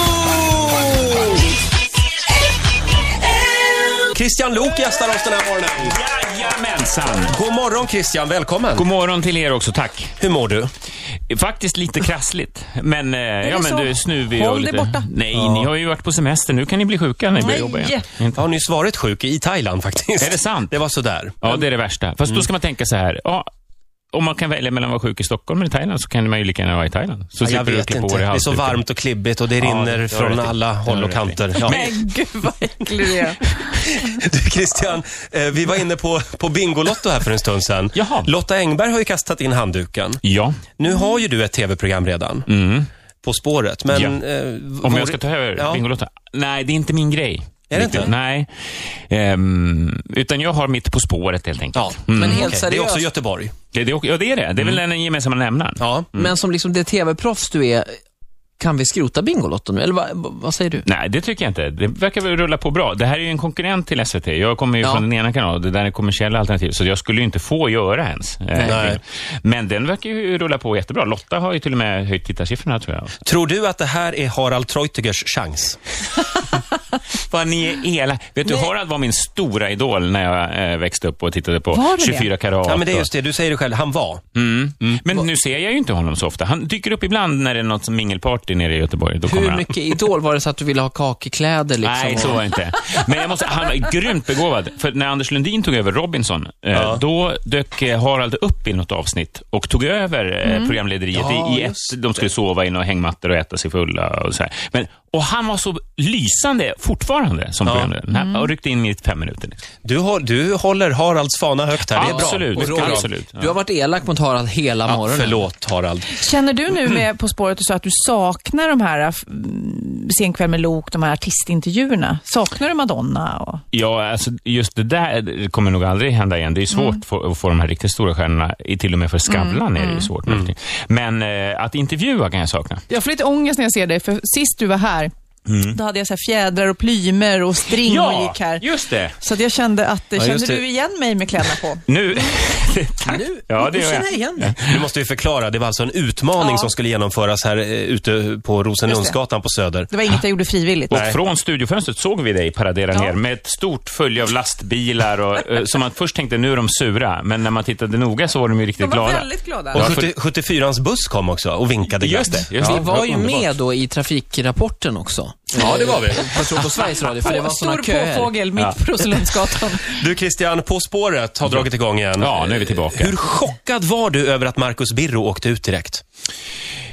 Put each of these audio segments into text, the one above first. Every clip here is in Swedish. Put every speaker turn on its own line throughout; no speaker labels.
Ritzmorgonzoo! Christian Lok gästar oss den här morgonen.
Jajamensan!
God morgon Christian, välkommen.
God morgon till er också, tack.
Hur mår du?
Faktiskt lite krassligt, men, eh, ja,
det
men
så?
du är snuvig och
Håll dig
lite...
borta.
Nej, ni har ju varit på semester. Nu kan ni bli sjuka när ni börjar
Nej.
jobba igen.
Jag har nyss varit sjuk i Thailand faktiskt.
Är det sant?
Det var sådär.
Ja, det är det värsta. Fast
Mm.
då ska man tänka så här. Ja, om man kan välja mellan att vara sjuk i Stockholm eller i Thailand så kan man ju lika gärna vara i Thailand. Så
Jag
slipper du typ
vet
klippa
inte.
på
Det
dig
är så
halsduken.
varmt och klibbigt och det
det-
rinner
det har
från
du rätt i.
alla håll och
Det har du
kanter. Ja.
Men gud vad äcklig du är.
Du Christian, eh, vi var inne på, på Bingolotto här för en stund sedan.
Jaha.
Lotta Engberg har ju kastat in handduken.
Ja,
Nu
Mm.
har ju du ett tv-program redan. På spåret, men...
Mm. Ja.
eh,
om
vore-
jag ska ta över
Ja.
Bingolotto. Nej, det är inte min grej.
Är det
Riktigt.
inte?
Nej. Ehm, utan jag har mitt På spåret helt enkelt.
Ja,
Men helt
Mm. okej. Det är
seriöst.
också Göteborg.
Det, det, ja, det är det. Det är väl
Mm.
den gemensamma nämnaren.
Ja. mm.
Men som liksom det tv-proffs du är, kan vi skrota Bingolotto nu? Eller vad, vad säger du?
Nej, det tycker jag inte. Det verkar väl rulla på bra. Det här är ju en konkurrent till SVT. Jag kommer ju
Ja.
från den ena kanalen, det där är kommersiella alternativ, så jag skulle ju inte få göra ens. eh,
Nej.
Men den verkar ju rulla på jättebra. Lotta har ju till och med höjt tittarsiffrorna, tror jag.
Tror du att det här är Harald Treutiggers chans?
Vad ni är elaka. Vet du, Harald var min stora idol när jag eh, växte upp och tittade på
Var det
24 karat.
Ja, men det är
och-
just det. Du säger det själv. Han var.
mm. men nu ser jag ju inte honom så ofta. Han dyker upp ibland när det är något som mingelparty nere i Göteborg. Då kommer
Hur
han.
mycket Idol var det så att du ville ha kakekläder liksom?
Nej, så var det inte. Men jag måste, han var grymt begåvad. För när Anders Lundin tog över Robinson, eh, då dök eh, Harald upp i något avsnitt och tog över eh, programlederiet.
Ja,
i, i ett, de skulle sova i några hängmattor och äta sig fulla och så här. Men, och han var så lysande fortfarande som programledare. Han Och ryckte in i fem minuter. Liksom.
Du, hå- du håller Haralds fana högt här. Det är bra.
Absolut,
Och
mycket
Roger.
absolut. Ja.
Du har varit elak mot Harald hela
Ja,
morgonen.
förlåt, Harald.
Känner du nu med På spåret och så att du saknar de här mm, Sen kväll med Lok, de här artistintervjuerna? Saknar du Madonna? Och...
Ja, alltså just det där kommer nog aldrig hända igen. Det är ju svårt för, att få de här riktigt stora stjärnorna, i- till och med för Skavlan är det ju svårt. med allting. Men eh, att intervjua kan jag sakna.
Jag får lite ångest när jag ser dig, för sist du var här, då hade jag så här fjädrar och plymer och string och gick här.
just det.
Så att jag kände att,
just
kände
det.
du igen mig med kläderna på?
Nu... Tack.
Nu,
ja, det
nu
gör
känner
jag.
jag igen dig.
Nu måste vi förklara. Det var alltså en utmaning
Ja.
som skulle genomföras här eh, ute på Rosenlundsgatan på Söder.
Det var inget jag gjorde frivilligt.
Och
Nej.
från studiofönstret såg vi dig paradera
Ja.
ner med ett stort följe av lastbilar och, eh, som man först tänkte, nu är de sura. Men när man tittade noga så var de ju riktigt
De var
glada.
väldigt glada.
Och
Ja, för-
70- 74ans buss kom också och vinkade glatt.
Just det. Just
Vi
det.
var ju
Underbart.
med då i trafikrapporten också.
Ja, det var vi.
Jag tror på Sveriges Radio, för det var
Stor
såna köer.
påfågel mitt på Rosenlundsgatan.
Du Christian, På spåret har dragit igång igen.
Ja, nu är vi tillbaka.
Hur chockad var du över att Marcus Birro åkte ut direkt?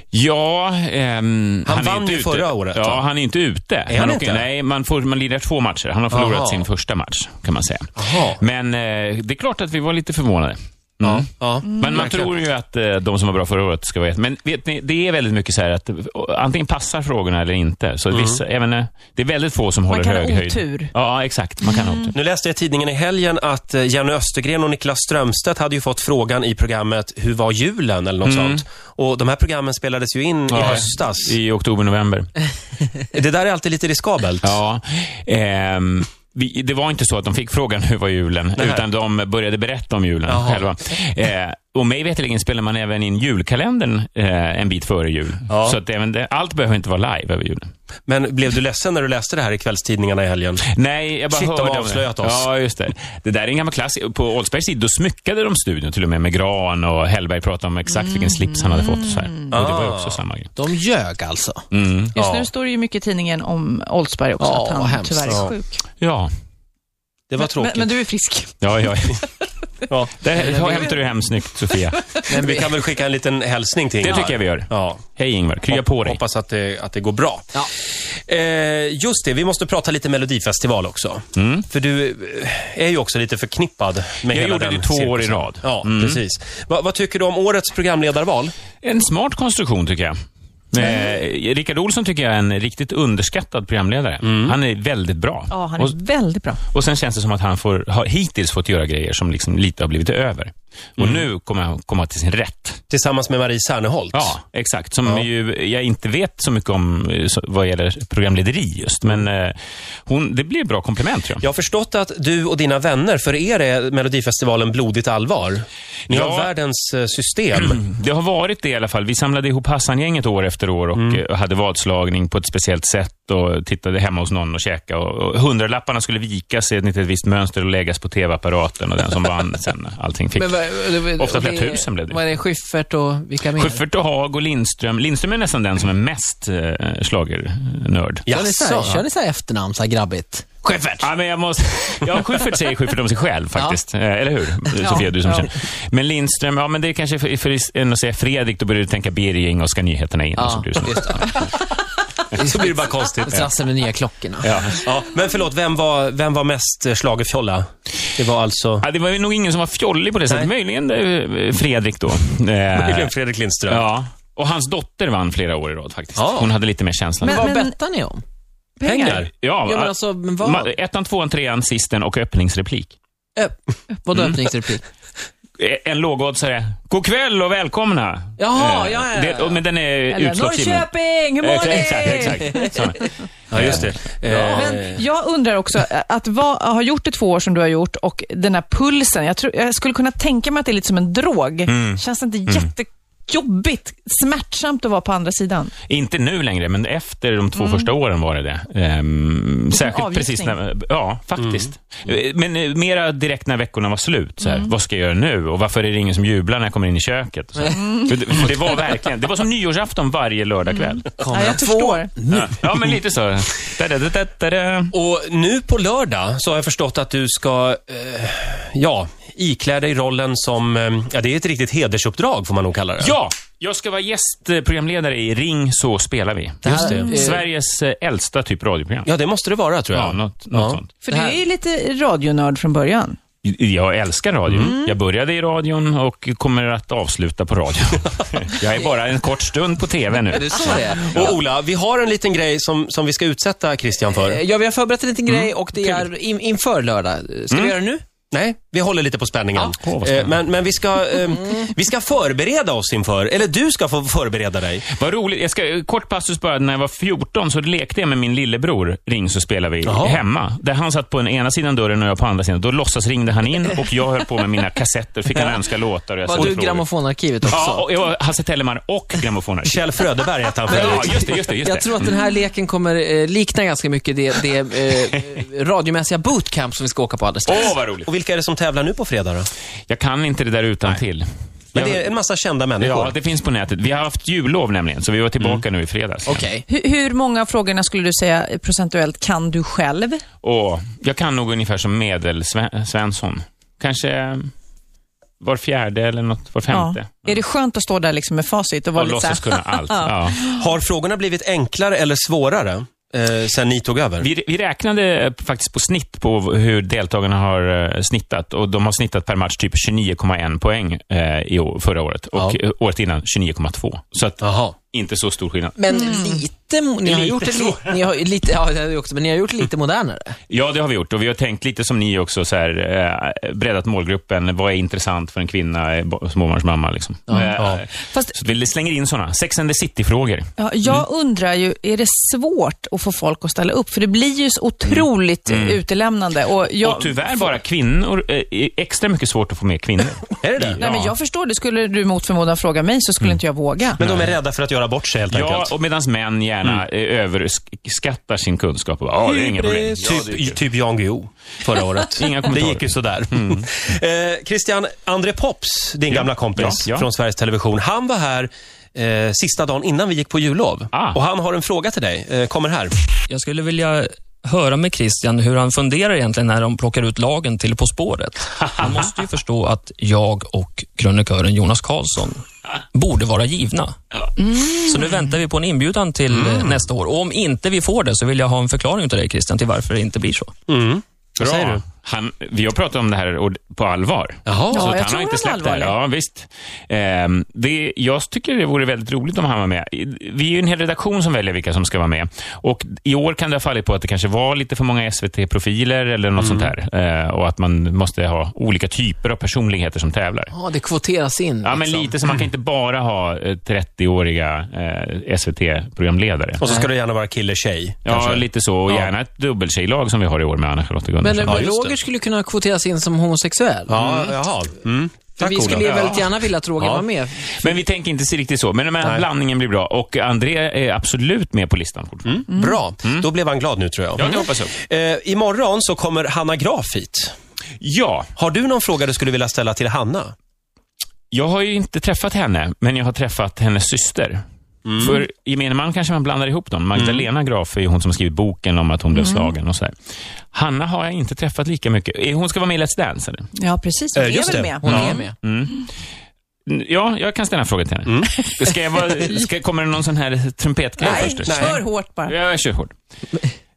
Ja, ehm,
Han
är
vann
inte
ju
ute.
förra året, va?
Ja, han är inte ute.
han
åker-
inte?
Nej, man, får, man lirar två matcher. Han har förlorat
Aha.
sin första match, kan man säga.
Aha.
Men eh, det är klart att vi var lite förvånade. Mm.
Ja.
Men man tror ju att eh, de som var bra förra året ska vara jätte- Men vet ni, det är väldigt mycket så här att eh, antingen passar frågorna eller inte. Så vissa, även, eh, det är väldigt få som håller
kan ha
hög höjd.
otur.
Ja, exakt. Man kan ha otur.
Nu läste jag i tidningen i helgen att eh, Jenny Östergren och Niklas Strömstedt hade ju fått frågan i programmet Hur var julen? eller något sånt. Och de här programmen spelades ju in i
Mm. Ja.
höstas.
I oktober, november.
Det där är alltid lite riskabelt.
Ja. Ehm, vi, det var inte så att de fick frågan hur var julen,
Nej.
utan de började berätta om julen
Jaha.
själva. Eh, och mig veterligen spelar man även in julkalendern eh, en bit före jul.
Ja.
Så att även det, allt behöver inte vara live över julen.
Men blev du ledsen när du läste det här i kvällstidningarna i helgen?
Nej, jag bara
Shit, de
hörde
har
om det.
avslöjat oss.
Ja, just det. Det där är en gammal klassiker. På Oldsbergs tid, då smyckade de studion till och med med gran och Hellberg pratade om exakt
Mm.
vilken slips han hade fått. Och, så här. och det var ju
Ah.
också samma grej. Mm.
De ljög alltså.
Just
Ja.
nu står det ju mycket i tidningen om Oldsberg också,
Ja,
att han
vad hemskt.
tyvärr
Ja.
är sjuk.
Ja,
Det var
Men,
tråkigt.
men du är frisk.
ja, ja.
Ja.
Där hämtar du hem snyggt, Sofia.
Men vi kan väl skicka en liten hälsning till
Det
Ingvar?
tycker jag vi gör.
Ja.
Hej Ingvar, krya på dig.
Hoppas att det, att det går bra.
Ja.
Eh, just det, vi måste prata lite Melodifestival också. För du eh, är ju också lite förknippad med
Mm. Jag
hela
gjorde
den
det två år i
cirkusen.
rad.
Ja,
Mm.
precis. Va, vad tycker du om årets programledarval?
En smart konstruktion tycker jag.
Mm.
Eh, Rickard Olsson tycker jag är en riktigt underskattad programledare. Han är väldigt bra.
Ja, han är
och,
väldigt bra.
och sen känns det som att han får, har hittills fått göra grejer som liksom lite har blivit över. Och
Mm.
nu kommer han komma till sin rätt.
Tillsammans med Marie Serneholt.
Ja, exakt. Som ju, jag inte vet så mycket om eh, så- vad gäller programlederi just, men eh, hon, det blir ett bra komplement tror jag.
Jag har förstått att du och dina vänner, för er är Melodifestivalen blodigt allvar. Ni har
Ja.
världens eh, system.
Det har varit det i alla fall. Vi samlade ihop Hassan-gänget år efter år och
Mm.
eh, hade vadslagning på ett speciellt sätt och tittade hemma hos någon och käkade. Och, och hundralapparna skulle vikas enligt ett visst mönster och läggas på tv-apparaten och den som vann sen allting fick.
Men vad- det- det-
Ofta flera
det-
tusen blev det.
Vad är det? Schyffert och vilka mer?
Schyffert och Haag och Lindström. Lindström är nästan den som är mest eh, schlagernörd.
Kör ni så här-
Jaså?
Kör ni så här efternamn, så här grabbigt? Schyffert!
Ja, men jag måste... ja, Schyffert säger Schyffert om sig själv faktiskt. Eh, Eller hur? Sofia, du som
ja.
känner. Men Lindström, ja men det är kanske för, för än att säga Fredrik, då börjar du tänka Birging och ska nyheterna in. Och så
Ja,
blir det så.
just det.
Mm.
Så blir det bara konstigt.
Trassel med nya klockorna.
Ja.
Ja, men förlåt, vem var, vem var mest eh, schlagerfjolla? Det var alltså...
Ja, det var ju nog ingen som var fjollig på det sättet. Möjligen eh, Fredrik då. Eh,
Möjligen Fredrik Lindström.
Ja. Och hans dotter vann flera år i rad faktiskt.
Ja.
Hon hade lite mer känslan.
Men-
Vad bettar ni om?
Pengar.
ja,
Ja, men
eh,
alltså, men vad?
ma- ettan, tvåan, trean, sisten och öppningsreplik.
Ö- Vadå öppningsreplik?
Eh, En lågoddsare. God kväll och välkomna. Eh,
Jaha, ja, ja, ja.
Det, och- men den är
Eller
utslagsgivande.
Norrköping,
Eh,
hur mår
Exakt,
ni?
exakt, exakt. Såna.
Ja, just det. Eh,
Men jag undrar också, ä- att va, ha gjort det två år som du har gjort och den här pulsen. Jag, tror, jag skulle kunna tänka mig att det är lite som en drog.
Mm.
Känns det inte jättejobbigt, smärtsamt att vara på andra sidan?
Inte nu längre, men efter de
Mm.
två första åren var det det. Ehm, särskilt
avgiftning.
precis när, Ja, faktiskt.
Mm.
Eh, Men eh, mera direkt när veckorna var slut. Så här, Vad ska jag göra nu? Och varför är det ingen som jublar när jag kommer in i köket? Och så här.
Mm.
För det, för det var verkligen... Det var som nyårsafton varje lördagkväll.
Ja, jag förstår.
Ja, ja, men lite så. Da, da, da, da, da, da.
Och nu på lördag så har jag förstått att du ska, eh, ja, iklä dig rollen som, eh, ja det är ett riktigt hedersuppdrag får man nog kalla det.
Ja, jag ska vara gästprogramledare i Ring så spelar vi.
Det här- eh,
Sveriges eh, äldsta typ radioprogram.
Ja, det måste det vara tror jag.
Ja, något, något
Ja.
sånt.
För du är ju lite radionörd från början.
Jag älskar radion.
Mm.
Jag började i radion och kommer att avsluta på radion. jag är bara en kort stund på TV nu.
Är det så det är?
Och Ola, vi har en liten grej som, som vi ska utsätta Christian för.
Eh, Ja, vi har förberett en liten grej och det är in, inför lördag. Ska vi göra det nu?
Nej, vi håller lite på spänningen.
Ja. Åh, vad
eh,
spännande.
men men vi, ska, eh, vi ska förbereda oss inför, eller du ska få förbereda dig.
Vad roligt. Jag ska, kort passus bara. När jag var 14 så lekte jag med min lillebror Ring så spelade vi
Jaha.
hemma. Där han satt på den ena sidan dörren och jag på andra sidan. Då låtsas ringde han in och jag höll på med mina kassetter. Fick han önska låtar och jag
Var
ställde
du
frågor.
grammofonarkivet också?
Ja, och jag var Hasse Tellemar och grammofonare.
Kjell Fröderberg hette han
Ja,
förut.
just det, just det. Just
Jag
det.
tror att den här leken kommer eh, likna ganska mycket det, det eh, radiomässiga bootcamp som vi ska åka på alldeles strax.
Åh, vad roligt.
Och vilka är det som tävlar nu på fredag då?
Jag kan inte det där utan till.
Men det är en massa kända människor.
Ja, det finns på nätet. Vi har haft jullov nämligen, så vi var tillbaka nu i fredags.
Okej.
Hur, hur många av frågorna skulle du säga eh, procentuellt kan du själv?
Och jag kan nog ungefär som medelsvensson. Kanske var fjärde eller något, var femte.
Är det skönt att stå där liksom med facit och vara
Och
lite så
låtsas
här,
kunna allt. ja.
Har frågorna blivit enklare eller svårare eh, sen ni tog över?
vi, vi räknade eh, faktiskt på snitt på v- hur deltagarna har eh, snittat. Och De har snittat per match typ 29,1 poäng eh, i år, förra året och
Ja.
eh, året innan 29,2. Så att,
Jaha.
inte så stor skillnad.
Men
Mm.
lite, mo- ni har gjort det li, ni har, lite, ja, det har vi också, men ni har gjort det lite modernare.
Ja, det har vi gjort. Och Vi har tänkt lite som ni också, så här, eh, breddat målgruppen. Vad är intressant för en kvinna, eh, bo- småbarnsmamma? Liksom. Eh,
Ja.
Fast-
Så vi slänger in såna. Sex and the City-frågor.
Ja, jag
Mm.
undrar ju, är det svårt att få folk att ställa upp? För det blir ju så otroligt eh, utelämnande. Och jag,
Mm. Och tyvärr bara kvinnor. eh, är Extra mycket svårt att få med kvinnor.
Är det det?
Nej, men
Ja. Mm.
jag förstår det. Skulle du mot förmodan fråga mig så skulle inte jag våga.
Men de är rädda för att göra bort sig helt
Ja,
enkelt.
och medan män gärna mm. överskattar sin kunskap. Och bara, "Ja, det är inga problem. Ja, det är
Typ,
kul."
typ Jan Guillou förra året.
Inga
det
kommentarer. Mm.
gick ju sådär. eh, Christian, André Pops, din gamla kompis
Ja, ja.
från Sveriges Television, han var här eh, sista dagen innan vi gick på jullov.
Ah.
Och han har en fråga till dig. Eh, kommer här.
Jag skulle vilja höra med Christian hur han funderar egentligen när de plockar ut lagen till På spåret. Han måste ju förstå att jag och krönikören Jonas Karlsson borde vara givna. Så nu väntar vi på en inbjudan till eh, nästa år. Och om inte vi får det så vill jag ha en förklaring till dig Christian till varför det inte blir så.
Vad säger du?
Bra. Han, vi har pratat om det här ord- på allvar.
Jaha.
Ja,
så att
jag
han
tror
har inte
den är
släppt det här. Ja, visst. Ehm, det, jag tycker det vore väldigt roligt om han var med. I- Vi är ju en hel redaktion som väljer vilka som ska vara med. Och i år kan det ha fallit på att det kanske var lite för många SVT-profiler eller något sånt där. Eh, och att man måste ha olika typer av personligheter som tävlar.
Ja, det kvoteras in.
Ja, men
liksom.
lite så man kan inte bara ha eh, 30-åriga eh, SVT-programledare.
Och så ska det gärna vara kille-tjej.
Ja,
kanske.
lite så. Och
Ja.
gärna ett dubbeltjejlag som vi har i år med Anna-Charlotte Gunnarsson.
Men eh,
Ja, just
Roger
det.
skulle kunna kvoteras in som homosexuell.
Ja, jaha. Mm.
För
Tack,
vi
Ola.
skulle ju
Ja.
väldigt gärna vilja att Roger
Ja.
var med.
Men vi tänker inte se riktigt så. Men, men
Nej.
blandningen blir bra. Och André är absolut med på listan fortfarande.
Bra, då blev han glad nu tror jag.
Mm. Ja, det hoppas jag.
Eh, imorgon så kommer Hanna Graf hit.
Ja,
Har du någon fråga du skulle vilja ställa till Hanna?
jag har ju inte träffat henne, men jag har träffat hennes syster. För gemene man kanske man blandar ihop dem. Magdalena Graf är ju hon som skrivit boken om att hon blev slagen och sådär. Hanna har jag inte träffat lika mycket. Eh, Hon ska vara med i Let's Dance, eller?
Ja, precis. Hon
Eh,
är
just
väl
det.
med.
Hon
Ja.
är med.
N- Ja, jag kan ställa en fråga till henne. Ska jag vara, ska, kommer det någon sån här trumpetgrej
Nej,
först?
kör hårt bara.
Ja, jag kör hårt.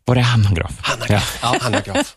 Var är Hanna Graf?
Hanna
Ja.
Graf. Ja, Hanna Graf.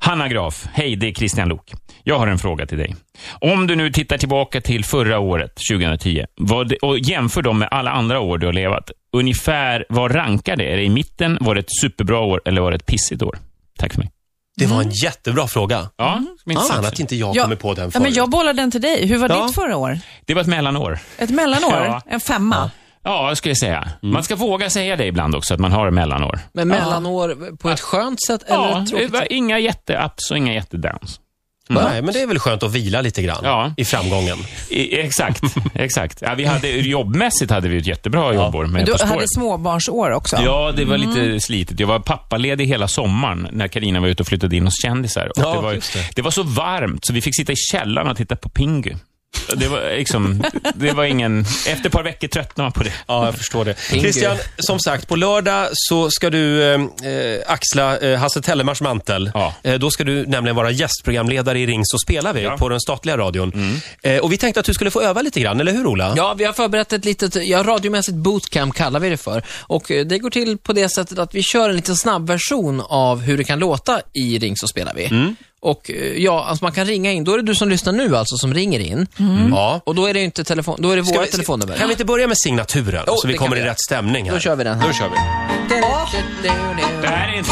Hanna Graf, hej, det är Christian Lok. Jag har en fråga till dig. Om du nu tittar tillbaka till förra året, 2010, vad, och jämför dem med alla andra år du har levat, ungefär vad rankar det? Är det i mitten? Var det ett superbra år eller var det ett pissigt år? Tack för mig.
Det var en jättebra fråga.
Ja, det var
Fan
intressant.
att inte jag
Ja.
kommer på den
Ja,
förut.
men jag bollar den till dig. Hur var
Ja.
ditt förra år?
det var ett mellanår.
Ett mellanår?
Ja.
En femma?
Ja, skulle jag säga. Man ska våga säga det ibland också, att man har mellanår.
Men mellanår på ett skönt sätt eller
Ja,
ett
det
tråkigt
var
sätt?
inga jätteapps och inga jättedowns.
Nej, men det är väl skönt att vila lite grann
Ja.
i framgången.
I, exakt, exakt. Ja, vi hade, jobbmässigt hade vi ett jättebra jobbår med
Du
På spåret.
hade småbarnsår också?
Ja, det var lite
Mm.
slitet. Jag var pappaledig hela sommaren när Karina var ute och flyttade in hos kändisar. Och
Ja,
det, var,
just det.
det var så varmt så vi fick sitta i källaren och titta på Pingu. Det var liksom, det var ingen... Efter ett par veckor tröttnade man på det.
Ja, jag förstår det. Christian, som sagt, på lördag så ska du eh, eh, axla eh, Hasse Tellemars mantel.
Ja.
Eh, då ska du nämligen vara gästprogramledare i Ring så spelar vi
Ja. Mm.
på den statliga radion. Eh, och vi tänkte att du skulle få öva lite grann, eller hur Ola?
Ja, vi har förberett ett litet, ja, radiomässigt bootcamp kallar vi det för. Och eh, det går till på det sättet att vi kör en liten snabbversion av hur det kan låta i Ring så spelar vi.
Mm.
Och eh, ja, alltså man kan ringa in. Då är det du som lyssnar nu alltså som ringer in.
Mm. Ja.
Och då är det ju inte telefon, då är det
Ska
våra
vi-
telefonnummer.
Kan vi inte börja med signaturen?
Jo,
så vi
det kan
kommer
vi
i
göra.
rätt stämning här.
Då kör vi den här.
Då kör vi.
Det här är,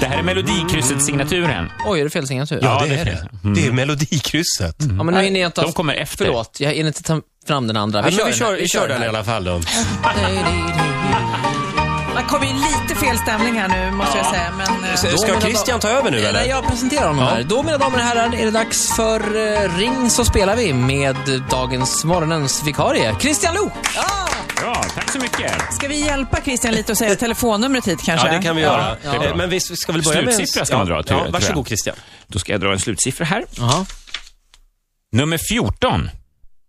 det här är Melodikrysset-signaturen.
Oj, är det fel signatur?
Ja,
Ja,
det
det
är det. Det är Melodikrysset.
Ja, men nu hinner jag inte...
De kommer efter.
Förlåt, jag hinner inte ta fram den andra.
Ja, men vi
den här,
kör, vi kör den i alla fall då.
Det kommer ju lite fel stämning här nu, måste jag säga. Men, eh,
S- Ska
menar
Christian ta över nu
Eh, Nej,
eller?
jag presenterar honom här. Då, mina damer och herrar, är det dags för eh, Ring så spelar vi med dagens morgonens vikarie, Christian Lok.
Bra, tack så mycket.
ska vi hjälpa Christian lite och säga telefonnumret hit kanske?
Ja, det kan vi göra.
Ja, det är bra.
Eh, Men vi s- ska väl börja med...
Slutsiffra ska man dra,
Ja,
tror jag,
ja,
tror
Varsågod
jag.
Christian.
Då ska jag dra en slutsiffra här.
Jaha.
Nummer 14.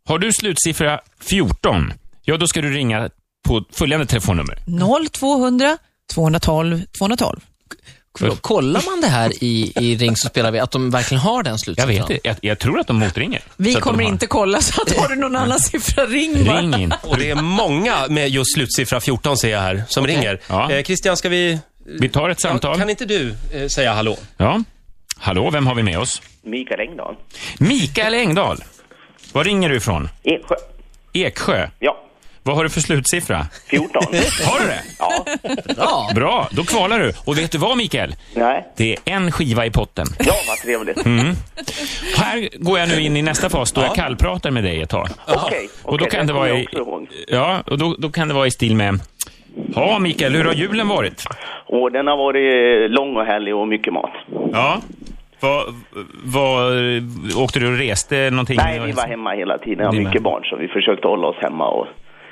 Har du slutsiffra 14? Ja, då ska du ringa på följande telefonnummer.
0200 212 212.
Förlåt, Kollar man det här i, i Ring så spelar vi, att de verkligen har den
Jag
slutsiffran?
vet inte. Jag, jag tror att de motringer.
Vi
Så att de
kommer
har-
inte kolla, så att har du någon annan siffra, ring bara.
Ring in.
Och det är många med just slutsiffra 14 ser jag här, som ringer.
Ja.
Eh, Christian, ska vi...
Vi tar ett samtal.
Kan inte du eh, säga hallå?
Ja. Hallå, vem har vi med oss?
Mikael Engdahl.
Mikael Engdahl. Var ringer du ifrån?
Eksjö.
Eksjö.
Ja,
Vad har du för slutsiffra?
14.
Har du det?
Ja,
Ja.
Bra, då kvalar du. Och vet du vad, Mikael?
nej.
Det är en skiva i potten.
Ja, vad trevligt.
Mm. Här går jag nu in i nästa fas då jag kallpratar med dig ett tag.
Okej,
Och då
okej,
kan det
kommer
vara
jag
i,
också ihåg.
ja, och då, då kan det vara i stil med... Ja, Mikael, hur har julen varit?
Och den har varit eh, lång och härlig och mycket mat.
Ja. Vad, vad, åkte du och reste någonting?
Nej, vi var hemma hela tiden. Jag
Ni
har
med.
mycket barn, så vi försökte hålla oss hemma. Och,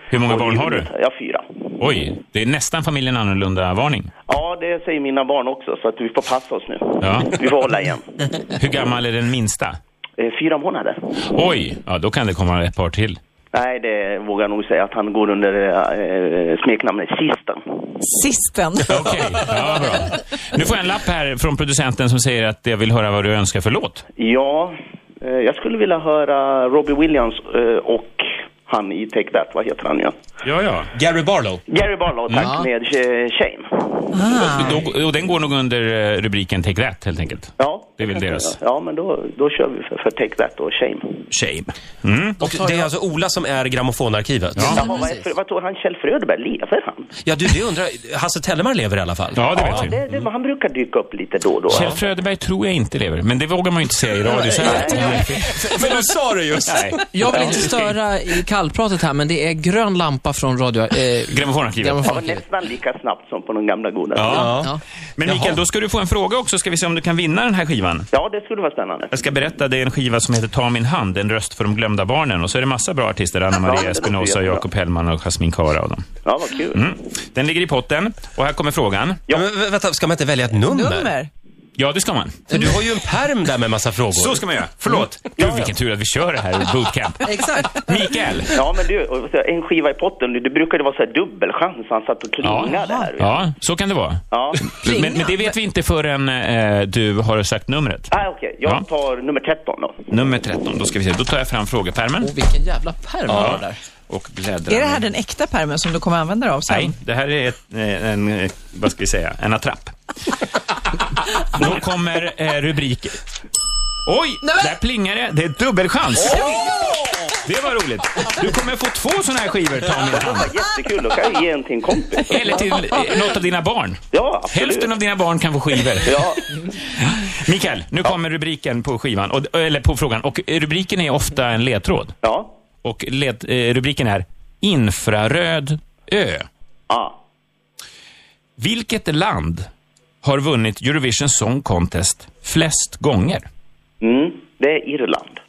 Hur många barn har du?
Ja, fyra.
Oj, det är nästan familjen annorlunda-varning.
Ja, det säger mina barn också, så att vi får passa oss nu.
Ja.
Vi får hålla igen.
Hur gammal är den minsta?
Eh, Fyra månader.
Oj, ja, då kan det komma ett par till.
Nej, det vågar jag nog säga att han går under eh, smeknamnet Sisten.
Sisten.
Okej, ja, bra. Nu får jag en lapp här från producenten som säger att jag vill höra vad du önskar för låt.
Ja, eh, jag skulle vilja höra Robbie Williams eh, och han i Take That, vad heter han nu?
Ja, ja.
Gary Barlow.
Gary Barlow, tack,
Ja.
med eh, Shame.
Ah.
Då, och den går nog under eh, rubriken Take That, helt enkelt.
Ja,
Det är väl
kan jag
deras.
göra. Ja, men då, då kör vi för, för Take That och Shame.
Shame. Mm.
Och det är alltså Ola som är grammofonarkivet?
Jaha, vad, är,
precis.
för- vad tror han Kjell Fröderberg lever han?
Ja, du, det undrar Hasse Tellemar lever i alla fall.
Ja, det vet vi.
Det, det, Han brukar dyka upp lite då och då.
Kjell Fröderberg tror jag inte lever, men det vågar man ju inte säga i radio. Så här.
Men du sa det just.
Nej.
Jag vill inte störa i kallpratet här, men det är grön lampa från radio... Eh,
Grammofonarkivet.
Det var nästan lika snabbt som på de gamla goda tiderna.
Ja.
Ja.
Men Mikael, då ska du få en fråga också, ska vi se om du kan vinna den här skivan.
Ja, det skulle vara spännande.
Jag ska berätta, det är en skiva som heter Ta min hand, en röst för de glömda barnen. Och så är det massa bra artister, Anna
Ja, det
Maria
låter
Espinosa,
jättebra.
Jakob Hellman och Jasmin Kara och dem.
Ja, vad kul.
Mm. Den ligger i potten, och här kommer frågan.
Ja. Men, vä- vänta, ska man inte välja ett nummer?
Nummer?
Ja, det ska man.
För du har ju en perm där med massa frågor.
Så ska man göra. Förlåt.
Mm.
Gud, vilken tur att vi kör det här i bootcamp.
Exakt.
Mikael!
Ja, men du, och så en skiva i potten, det brukade vara så här dubbelchans. Han satt och klingade här.
Ja, så kan det vara.
Ja.
Men, men det vet vi inte förrän eh, du har sagt numret.
Ah, Okej, jag
Ja.
tar nummer 13 då.
Nummer 13, då ska vi se. Då tar jag fram frågepärmen
Och vilken jävla pärm han har där.
och bläddrar.
Är det här den äkta pärmen som du kommer använda dig av sen?
Nej, det här är ett, eh, en, eh, vad ska vi säga, en attrapp. då kommer eh, rubriken. Oj, där plingar det. Det är dubbelchans. Det var roligt. Du kommer få två såna här skivor, ta min hand.
Jättekul, då kan jag ge en till en kompis.
Eller till eh, något av dina barn.
Ja, absolut.
Hälften av dina barn kan få skivor.
Ja,
Mikael, nu kommer rubriken på skivan, och, eller på frågan. Och eh, rubriken är ofta en ledtråd.
ja.
Och led, eh, rubriken är Infraröd ö.
Ah.
Vilket land har vunnit Eurovision Song Contest flest gånger?
Mm. Det är Irland.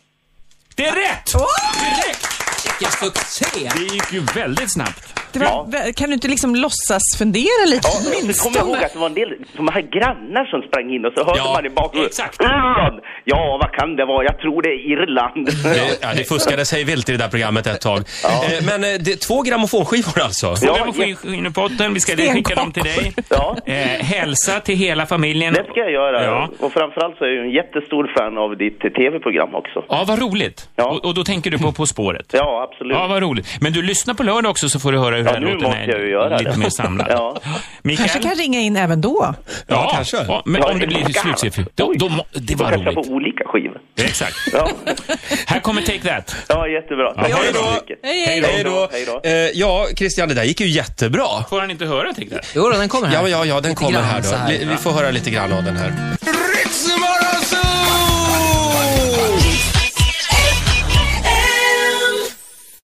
Det är rätt! Direkt!
Vilken succé!
Det gick ju väldigt snabbt.
Det var,
Ja.
vä- Kan du inte liksom låtsas fundera lite?
Ja, jag kommer jag ihåg att det var en del som hade grannar som sprang in och så hörde
Ja,
man i bakgrunden.
exakt.
Irland! Ja, vad kan det vara? Jag tror det är Irland.
Det, Eh, ja, det fuskade sig vilt i det där programmet ett tag. Eh, Men eh, det, två grammofonskivor alltså?
Ja,
Programmet får in- in i potten, vi ska skicka dem till dig.
Ja.
Eh, hälsa till hela familjen.
Det ska jag göra.
Ja.
Och framförallt så är jag en jättestor fan av ditt tv-program också.
Ja, vad roligt.
Ja.
Och, och då tänker du på På spåret.
Ja, absolut.
Ja, vad roligt. Men du lyssnar på lördag också så får du höra hur
Ja,
den
nu
låten
måste
är
jag ju göra
lite
det.
mer samlad.
Ja.
Mikael?
kanske kan ringa in även då.
Ja,
kanske.
Ja, men
Ja,
om det blir
skarpt.
slutsiffror. Då, då, må- det
Då
var
kanske jag
roligt.
får olika skivor.
Exakt.
Ja,
Här kommer Take That.
ja jättebra. Tack
Ja,
så
hej då.
mycket.
Hej då.
Hej då.
Eh, ja, Christian, det där gick ju jättebra.
Får han inte höra Take That?
Jo, då, den kommer här.
Ja, ja, ja, den kommer
grann
här då.
så här.
Vi, vi får höra lite grann av den här.
Ritzmorgonzoo!